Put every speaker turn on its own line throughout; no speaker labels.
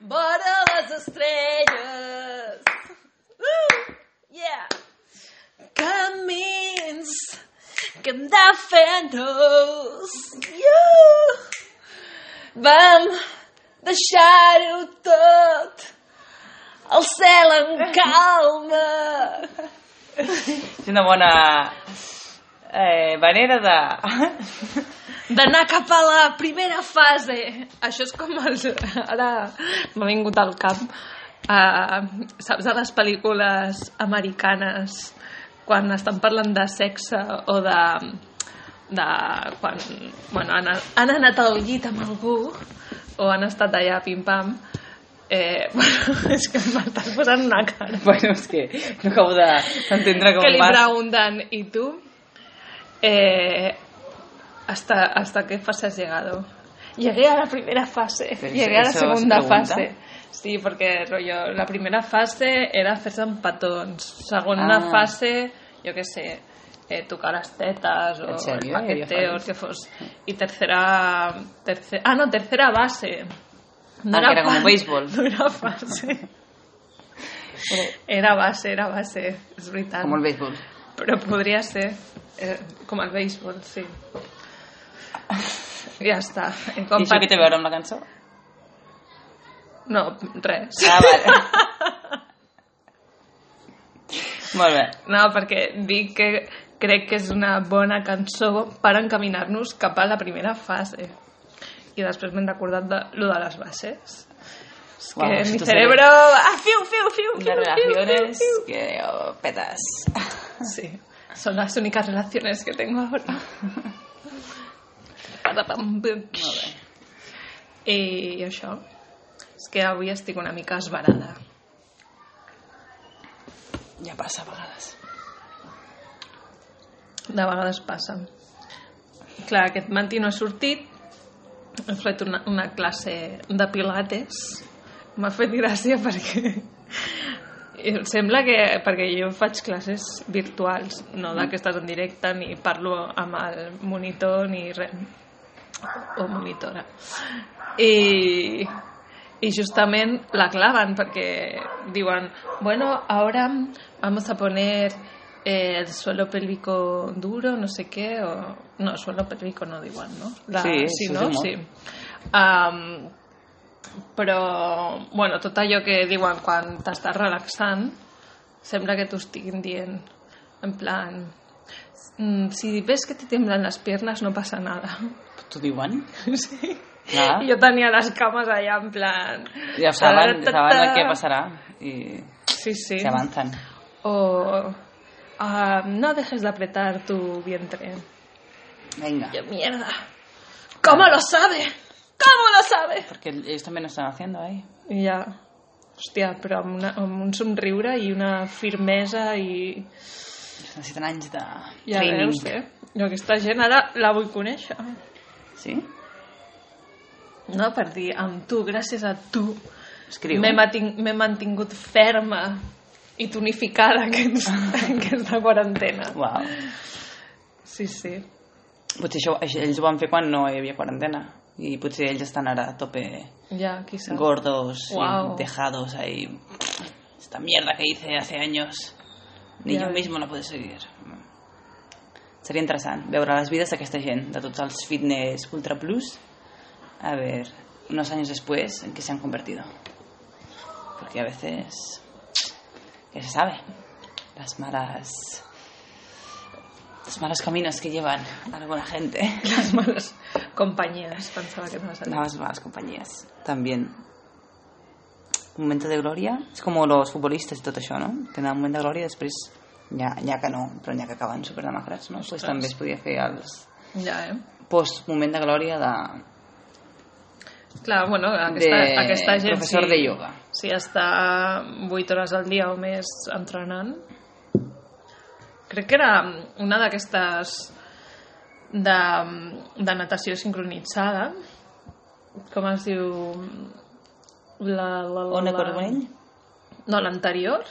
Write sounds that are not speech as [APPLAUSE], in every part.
vora les estrelles. Uh, yeah. Camins que hem de fer-nos. Uh. Vam deixar-ho tot el cel en calma.
És una bona eh, manera de... [LAUGHS]
d'anar cap a la primera fase. Això és com els... Ara m'ha vingut al cap. Uh, saps a les pel·lícules americanes quan estan parlant de sexe o de... de quan bueno, han, han anat al llit amb algú o han estat allà pim-pam eh, [LAUGHS] bueno, és que m'estàs posant una cara
bueno, és que no acabo de- d'entendre com
que li
vas.
preguntan, ¿y tú? Eh, hasta, ¿Hasta qué fase has llegado? Llegué a la primera fase,
Pero
llegué a
eso-
la
eso se
segunda
pregunta.
fase. Sí, perquè, rollo, la primera fase era fer-se empatons, segona
Ah.
fase, jo què sé, eh, tocar les tetes o
¿En serio?
el paqueteo,
Yo-
el que fos. I tercera... terce- Ah, no, tercera base.
Ah, que era com
fa-
béisbol.
[LAUGHS] No era fase.
[LAUGHS]
Era base, era base, és veritat.
Com el béisbol.
Però podria ser eh, com el béisbol, sí. Ja està. I
I
quan
això
par...
que té a veure amb la cançó?
No, res.
Ah,
[LAUGHS]
vale. Molt bé.
No, perquè dic que crec que és una bona cançó per encaminar-nos cap a la primera fase. I després m'he recordat de lo de les bases. És que
Uau,
wow, mi
esto se
cerebro... Ah, fiu, fiu, fiu, fiu,
Las
fiu, fiu,
relaciones
fiu.
que oh, petas.
Sí, son las únicas relaciones que tengo
[LAUGHS]
ahora. Patapam, pum. I això, és que avui estic una mica esbarada.
Ja passa a vegades.
De vegades passa. Clar, aquest matí no he sortit, he fet una, una classe de pilates. M'ha fet gràcia perquè... em Sembla que... Perquè jo faig classes virtuals, no d'aquestes en directe, ni parlo amb el monitor, ni res. O monitora. I, i justament la clavan perquè diuen bueno, ahora vamos a poner eh, el suelo pélvico duro, no sé qué o... no, suelo pélvico no da igual ¿no?
Sí, sí,
no?
sí, molt.
sí. Um, però, bueno, tot allò que diuen quan t'estàs relaxant sembla que t'ho estiguin dient en plan "Mm, si ves que te tiemblan las piernas no pasa nada
T'ho diuen?
[LAUGHS] sí.
Clar.
I jo tenia les cames allà en plan...
Ah. Ja saben,
Ta-ra-ta-ta.
saben el que passarà i
Sí, sí.
s'avancen.
O... ah, no dejes de apretar tu vientre.
Vinga.
Yo, mierda. ¿Cómo lo sabe? ¿Cómo lo sabe?
Porque ellos también lo están haciendo eh? ahí.
I ja... Hòstia, però amb, una, amb un somriure i una firmesa i...
Necessiten anys de
Ja
training.
veus, eh? Jo aquesta gent ara la vull conèixer.
Sí?
No, per dir, amb tu, gràcies a tu,
Escriu.
M'he matin- m'he mantingut ferma i tonificada [LAUGHS] aquesta, aquesta quarantena.
Uau.
Sí, sí.
Potser això, això ells ho van fer quan no hi havia quarantena. I potser ells estan ara a tope
Ja, quizá.
gordos,
Guau.
y dejados ahí. Esta mierda que hice hace años. Ni
Ja
yo
ves.
mismo la puedo seguir. Seria interessant veure les vides d'aquesta gent, de tots els fitness ultra plus, a ver, unos años después, en qué se han convertido. Porque a veces, que se sabe, las malas, los malos caminos que llevan a la buena gente.
Les males companyies, pensava que no vas a dir.
Las malas compañías. También. Un momento de gloria. És com los futbolistes i tot això, no? Tenen un moment de glòria i després ja, ja que no, però ja que acaben superdemàcrats, no? Pues també es podia fer els
Ja, eh?
post-moment de glòria de,
Clar, bueno, aquesta,
de
aquesta gent...
professor
sí,
de yoga.
Si està 8 hores al dia o més entrenant, crec que era una d'aquestes de, de natació sincronitzada, com es diu... La, la, la,
Ona
la-
Corbonell?
No, l'anterior,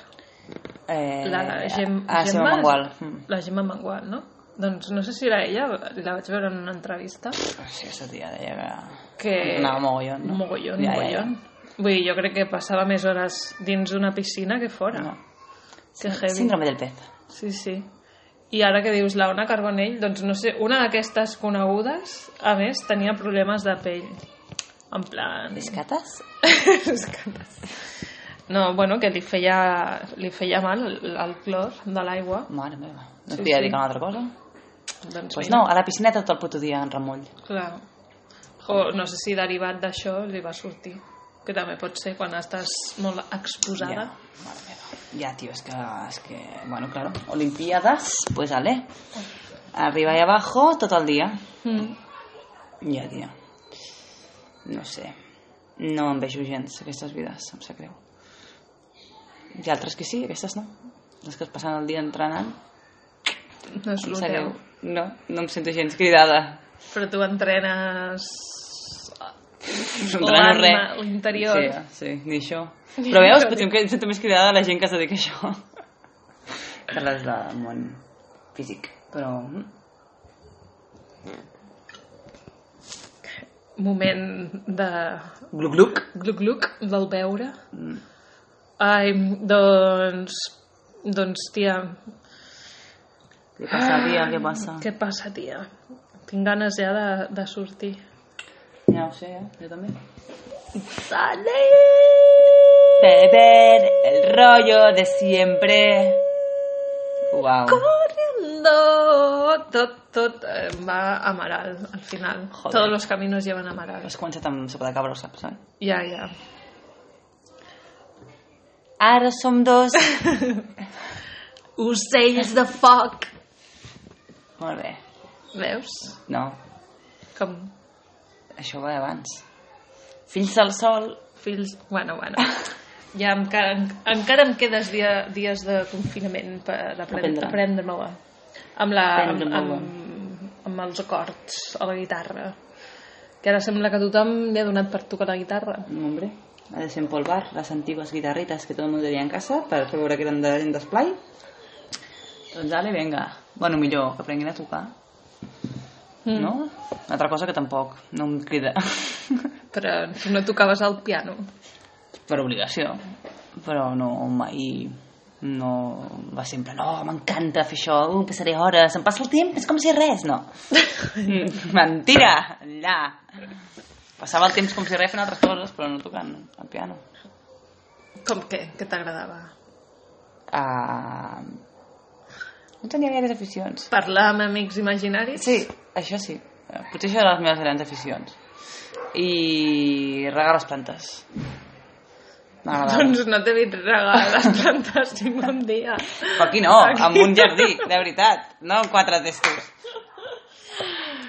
Eh,
la Gem,
ah, Gemma
Gemma-
Mangual. Mm.
La Gemma Mangual, no? Doncs no sé si era ella, la vaig veure
Mm.
en una entrevista,
Sí, aquesta tia deia que...
que...
Anava mogollon, no?
Mogollon, mogollon. Vull dir, jo crec que passava més hores dins d'una piscina que fora.
No.
Que heavy.
Síndrome del pez.
Sí, sí. I ara que dius la Ona Carbonell, doncs no sé, una d'aquestes conegudes, a més, tenia problemes de pell. En plan...
Escates?
Escates. No, bueno, que li feia, li feia mal el, el clor de l'aigua.
Mare meva.
Sí,
No et podia
sí.
dir una altra cosa?
Doncs
Doncs pues
mira,
no, a la piscina tot el puto dia en remull.
Clar. O no sé si derivat d'això li va sortir. Que també pot ser quan estàs molt exposada.
Ja, mare meva. Ja, tio, es que, es que... Bueno, claro, olimpiadas, pues ale. Arriba i abajo tot el dia.
Mm.
Ja, tio. No sé. No em vejo gens aquestes vides, em sap greu. Hi ha altres que sí, aquestes no. Les que es passen el dia entrenant.
No és
Em
el
sap greu.
teu.
No, no em sento gens cridada.
Però tu entrenes...
Entrenar no
L'ànima,
res.
l'interior.
Sí, sí, [LAUGHS] ni això. Però veus, potser em quedo- sento més cridada a la gent que es dedica a [LAUGHS] això. Que les del món físic. Però... mm,
Moment de
Gluc, gluc.
gluc-gluc del veure.
Mm,
Ai, doncs... Doncs, tia,
Què passa, tia? Què passa?
què passa, tia? Tinc ganes ja de, de sortir.
Ja ho sé, eh? Jo també.
Dale!
Beber el rollo de siempre. Wow.
Corriendo! Tot, tot eh, va a Amaral, al final.
Joder.
Todos los caminos llevan a Amaral.
Has començat amb sopa de cabra, ho saps, eh?
Ja, ja.
Ara som [LAUGHS] dos.
Ocells de foc!
Molt bé.
Veus?
No,
Com
això va d'abans. Fills del sol.
fills... Bueno, bueno. Ja encara, encara em quedes dia, dies de confinament per aprendre-
Aprendre.
aprendre-me-la. Amb, la, amb,
Aprendre-me-la.
amb, amb els acords a la guitarra. Que ara sembla que tothom li ha donat per tocar la guitarra.
Un hombre a desempolvar las antiguas guitarritas que todo el mundo tenía en casa per fer veure que eren de gent d'esplai. Doncs dale, venga. Bueno, millor que aprenguin a tocar, mm. no? Una altra cosa que tampoc no em crida.
Però no tocaves el piano.
per obligació. Però no mai... No va sempre, no, m'encanta fer això, uh, passaré hores, em passa el temps, és com si res, no. Mm, Mentira! Allà! Passava el temps com si res fent altres coses, però no tocant el piano.
Com que? Que t'agradava?
Ah, no tenia gaires aficions.
Parlar amb amics imaginaris?
Sí, això sí. Potser això era les meves grans aficions. I regar les plantes.
[LAUGHS]
M'agradava.
Doncs no t'he vist regar les plantes ni un dia.
Però aquí no, amb un jardí, de veritat. No amb quatre testos.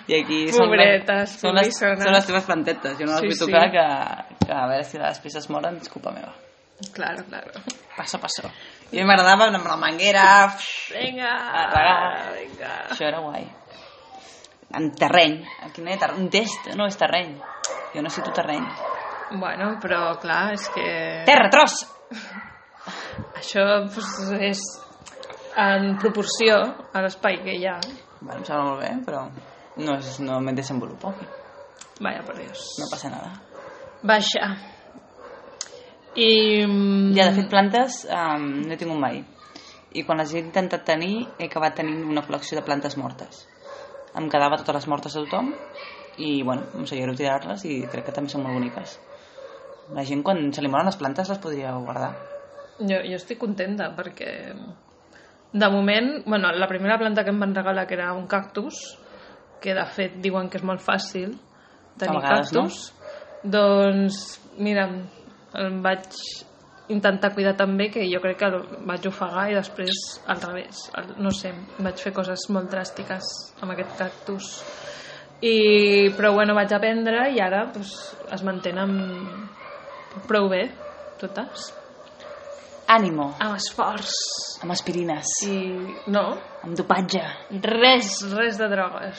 I aquí són,
Pobretes,
són, les,
pobrissones.
són les teves plantetes. Jo no les
Sí,
sí, vull
sí.
tocar, que, que a veure si les peces moren, és culpa meva.
Claro, claro.
Passo, passo. I a mi m'agradava amb la manguera...
Vinga,
A regar.
vinga.
Això era guai. En terreny. Aquí no hi ha terreny. Un test no és terreny. Jo no necessito terreny.
Bueno, però clar, és que...
Terra, tros!
Això pues, és en proporció a l'espai que hi ha.
Bueno, em sembla molt bé, però no, és, no me desenvolupo. aquí.
Vaja, per Dios.
No passa nada.
Baixa. I... mm,
Ja, de fet, plantes um, no he tingut mai. I quan les he intentat tenir, he acabat tenint una col·lecció de plantes mortes. Em quedava totes les mortes de tothom i, bueno, em sabia greu tirar-les i crec que també són molt boniques. La gent, quan se li moren les plantes, les podria guardar.
Jo, jo estic contenta perquè de moment, bueno, la primera planta que em van regalar que era un cactus, que de fet diuen que és molt fàcil tenir
A vegades,
cactus, doncs mira, el vaig intentar cuidar també que jo crec que el vaig ofegar i després al revés, el- no sé, vaig fer coses molt dràstiques amb aquest cactus i, però bueno, vaig aprendre i ara doncs, es mantenen prou bé totes
Ànimo,
amb esforç
amb aspirines,
i no,
amb dopatge.
res, res de drogues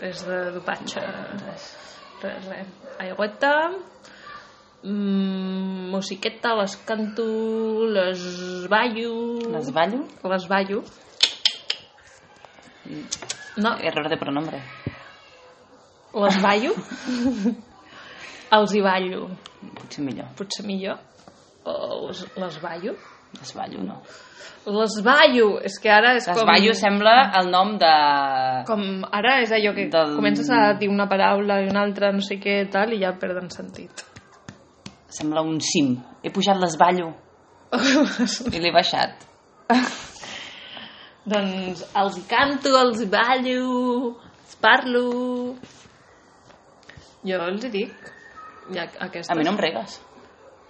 res de dopatge
Res.
res, res, aigüeta mm, musiqueta les canto, les ballo
Les ballo.
les ballo
Mm.
no,
Error de pronombre. [LAUGHS]
les ballo els hi ballo
Potser millor.
potser millor. O les, les ballo.
Les ballo, no.
Les ballo! És que ara és
Les
com...
ballo sembla el nom de...
Com ara és allò que
Del-
comences a dir una paraula i una altra, no sé què, tal, i ja perden sentit.
Sembla un cim. He pujat les ballo [LAUGHS] i l'he baixat.
doncs els hi canto, els hi ballo, els parlo... Jo els hi dic. I a- aquestes...
A mi no em regues.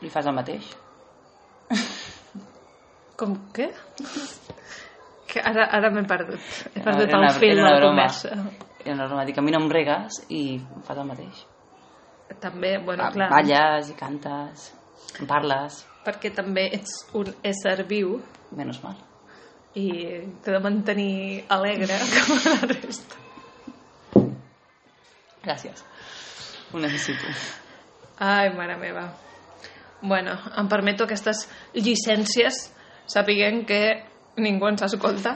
Li fas el mateix.
Com què? [LAUGHS] que ara ara m'he perdut. He
Era-
perdut
era una-
el fil
era
de
una
la
broma.
conversa.
I la Roma dic, a mi no em regues i em fas el mateix.
També, bueno,
Ba-
clar,
Balles i cantes, em parles,
perquè també ets un ésser viu
menys mal.
i t'he de mantenir alegre [LAUGHS] com a la resta.
Gràcies. Ho necessito.
Ai, mare meva. Bueno, em permeto aquestes llicències sapiguent que ningú ens escolta.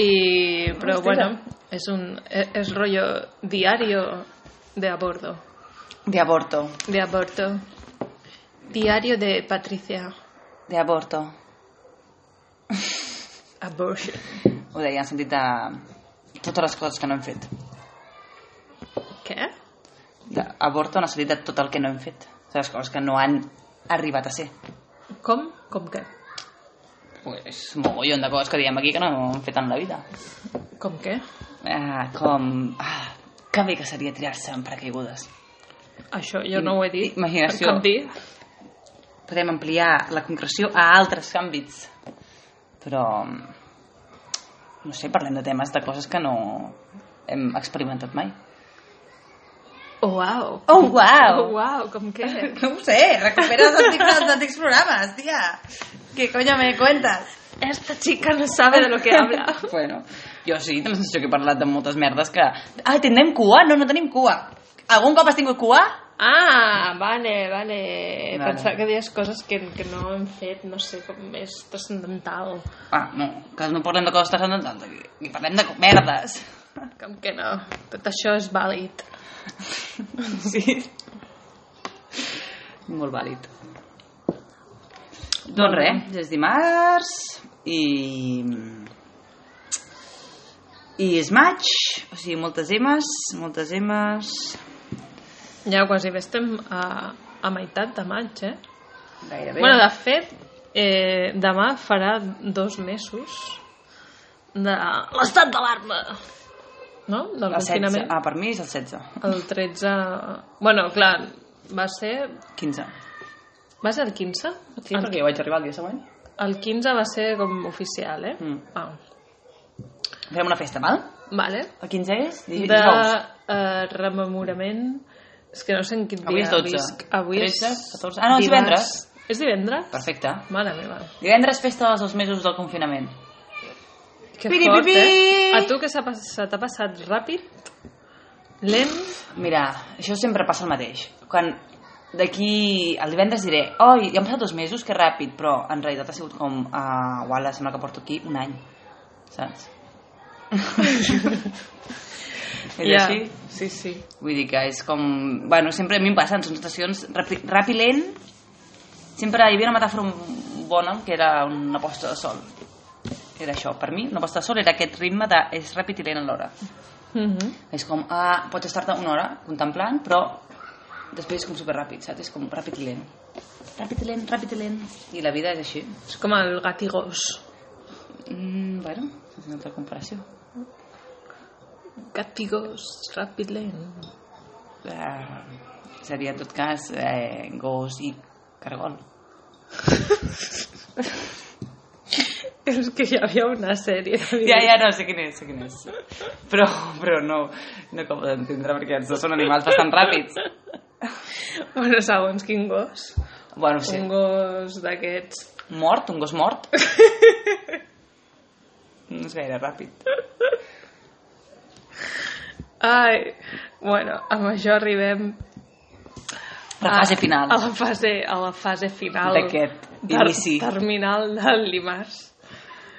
I, però
Hòstia.
bueno, és un és, és rotllo diario de a bordo.
De aborto.
De aborto. Diario de Patricia.
De aborto.
Abortion.
Ho deia en sentit de totes les coses que no hem fet.
Què?
De aborto en el sentit de tot el que no hem fet. O sigui, les coses que no han arribat a ser.
Com? Com què?
Pues, un mogollon de coses que diem aquí que no hem fet en la vida.
Com què?
Ah, com... Ah, que bé que seria tirar-se en paracaigudes.
Això jo no ho he dit.
Imaginació.
Em Cap dir.
Podem ampliar la concreció a altres àmbits. Però... No sé, parlem de temes, de coses que no hem experimentat mai.
Oh, wow.
Oh, wow!
Oh, wow, com què?
[LAUGHS] No ho sé, recupera els antics, els antics programes, tia. ¿Qué coño me cuentas?
Esta chica no sabe de lo que habla.
[LAUGHS]
[LAUGHS]
Bueno, jo sí, també sensació que he parlat de moltes merdes que... Ah, tindrem cua? No, no tenim cua. Algun cop has tingut cua?
Ah, vale, vale.
Vale.
Pensava que deies coses que, que no hem fet, no sé, com més transcendental.
Ah, no, que no parlem de coses transcendentals aquí. I parlem de merdes.
[LAUGHS] Com que no. Tot això és vàlid.
Sí. Molt vàlid. Doncs res, ja és dimarts i... I és maig, o sigui, moltes emes, moltes emes...
Ja quasi bé estem a, a meitat de maig, eh?
Gairebé.
Bueno, de fet, eh, demà farà dos mesos de l'estat d'alarma, no? Del
El 16.
confinament.
Ah, per mi és el 16.
El 13... Bueno, clar, va ser...
15.
Va ser el 15?
Sí,
el,
perquè jo vaig arribar el dia següent.
el 15 va ser com oficial, eh?
Mm.
Ah,
Fem una festa, val?
vale.
El 15 és? Di-
De
Dijous.
eh, rememorament... És que no sé en quin dia
Avui és 12.
visc. Avui és
13, 14. Ah, no, és divendres.
És divendres?
Perfecte.
Mare meva.
Divendres, festa dels dos mesos del confinament.
Que
Piri,
fort,
pi,
eh?
pi!
A tu que s'ha pas- se t'ha passat ràpid, lent...
Mira, això sempre passa el mateix. Quan d'aquí el divendres diré oi, ja han passat dos mesos, que ràpid, però en realitat ha sigut com, uh, uala, sembla que porto aquí un any, saps?
[LAUGHS]
és
ja.
així?
Sí, sí.
Vull dir que és com... Bueno, sempre a mi em passen, són sensacions ràpid, ràpid lent. Sempre hi havia una metàfora m- bona, que era una posta de sol. Era això, per mi, una posta de sol era aquest ritme de és ràpid i lent alhora.
Mm
És com, ah, pots estar-te una hora contemplant, però després és com superràpid, saps? És com ràpid i lent. Ràpid i lent, ràpid i lent. I la vida és així.
És com el gat i gos.
Mm, bueno, és una altra comparació.
Gat i gos, ràpid, lent.
Eh, seria en tot cas eh, gos i cargol.
És que hi havia una sèrie. de
Ja, ja, no, sé quin és, sé quin és. Però, però no, no acabo d'entendre perquè els dos són animals bastant ràpids.
vídeos. Bueno, segons quin gos.
Bueno,
Sí.
sí.
Un gos d'aquests.
Mort, un gos mort. No és gaire ràpid.
Ai, bueno, amb això arribem Ah,
La fase final
a la fase, a la fase final
d'aquest
ter-
inici.
terminal del dimarts.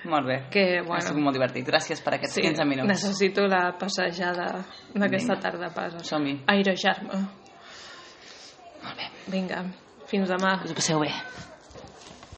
Molt bé.
Que,
Ha sigut
bueno,
molt divertit. Gràcies per aquests 15 minuts.
necessito la passejada d'aquesta tarda pas.
Som-hi.
Airejar-me.
Vinga, fins demà.
Us ho passeu bé.